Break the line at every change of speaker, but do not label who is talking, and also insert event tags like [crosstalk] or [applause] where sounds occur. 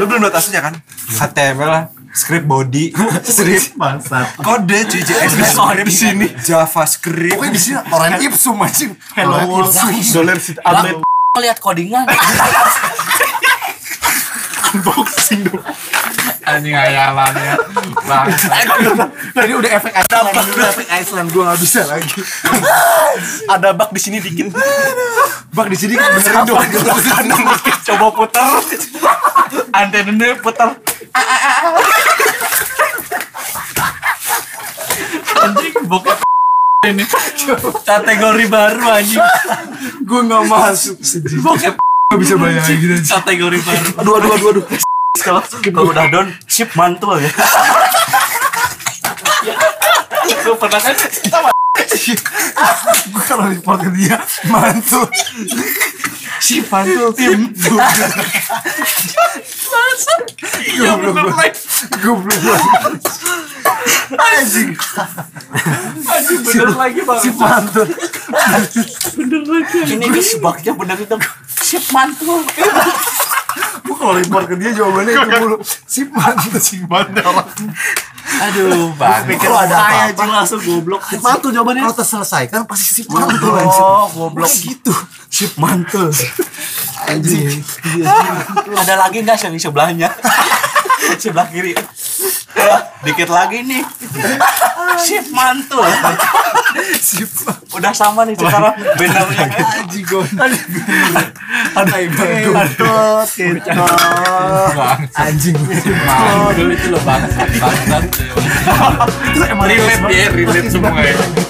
Lu belum liat aslinya kan?
HTML lah script
[laughs]
body script
Bangsat.
Kode cuy, JS
Sorry, di sini JavaScript
Pokoknya di sini orang ipsum anjing.
Hello
Orang
world.
ipsum.
Dollar sit update
lihat codingan
unboxing dong.
anjing ayalannya
Tadi udah efek Iceland, udah efek Iceland gua enggak bisa lagi.
Ada bug di sini dikit.
Bang di sini kan benerin dong.
Coba putar. Antenanya putar. ah,
anjing bokep ini kategori baru anjing
Gua enggak masuk. Sedih.
bokep
Gak bisa bayangin gitu. anjing.
kategori baru
Aduh aduh aduh aduh. Kalau kalau udah down, chip mantul ya.
gue pernah kan
Gua kalau report ke dia mantul.
Chip mantul tim.
Goblok banget. Goblok banget. Anjing.
anjing bener lagi bang
Si mantul.
bener lagi
Ini guys bugnya bener itu.
sip mantul
Gua kalau report ke dia jawabannya itu mulu. Si mantul. Si mantul.
aduh bang
Kalau ada
Saya
apa-apa.
anjing langsung goblok. Chip mantul jawabannya.
Kalau terselesaikan pasti si mantul anjing.
Oh, goblok.
gitu.
Chip mantul.
Anjing.
Ada lagi nggak yang di sebelahnya? [laughs] Sebelah kiri. Eh, dikit lagi nih. Sip mantul.
Si
Udah sama nih sekarang bannernya kan.
anjing gua. Ada
Kentut, kentut.
bang
anjing.
itu lo bang bang
Itu emang
relate ya relate semua ya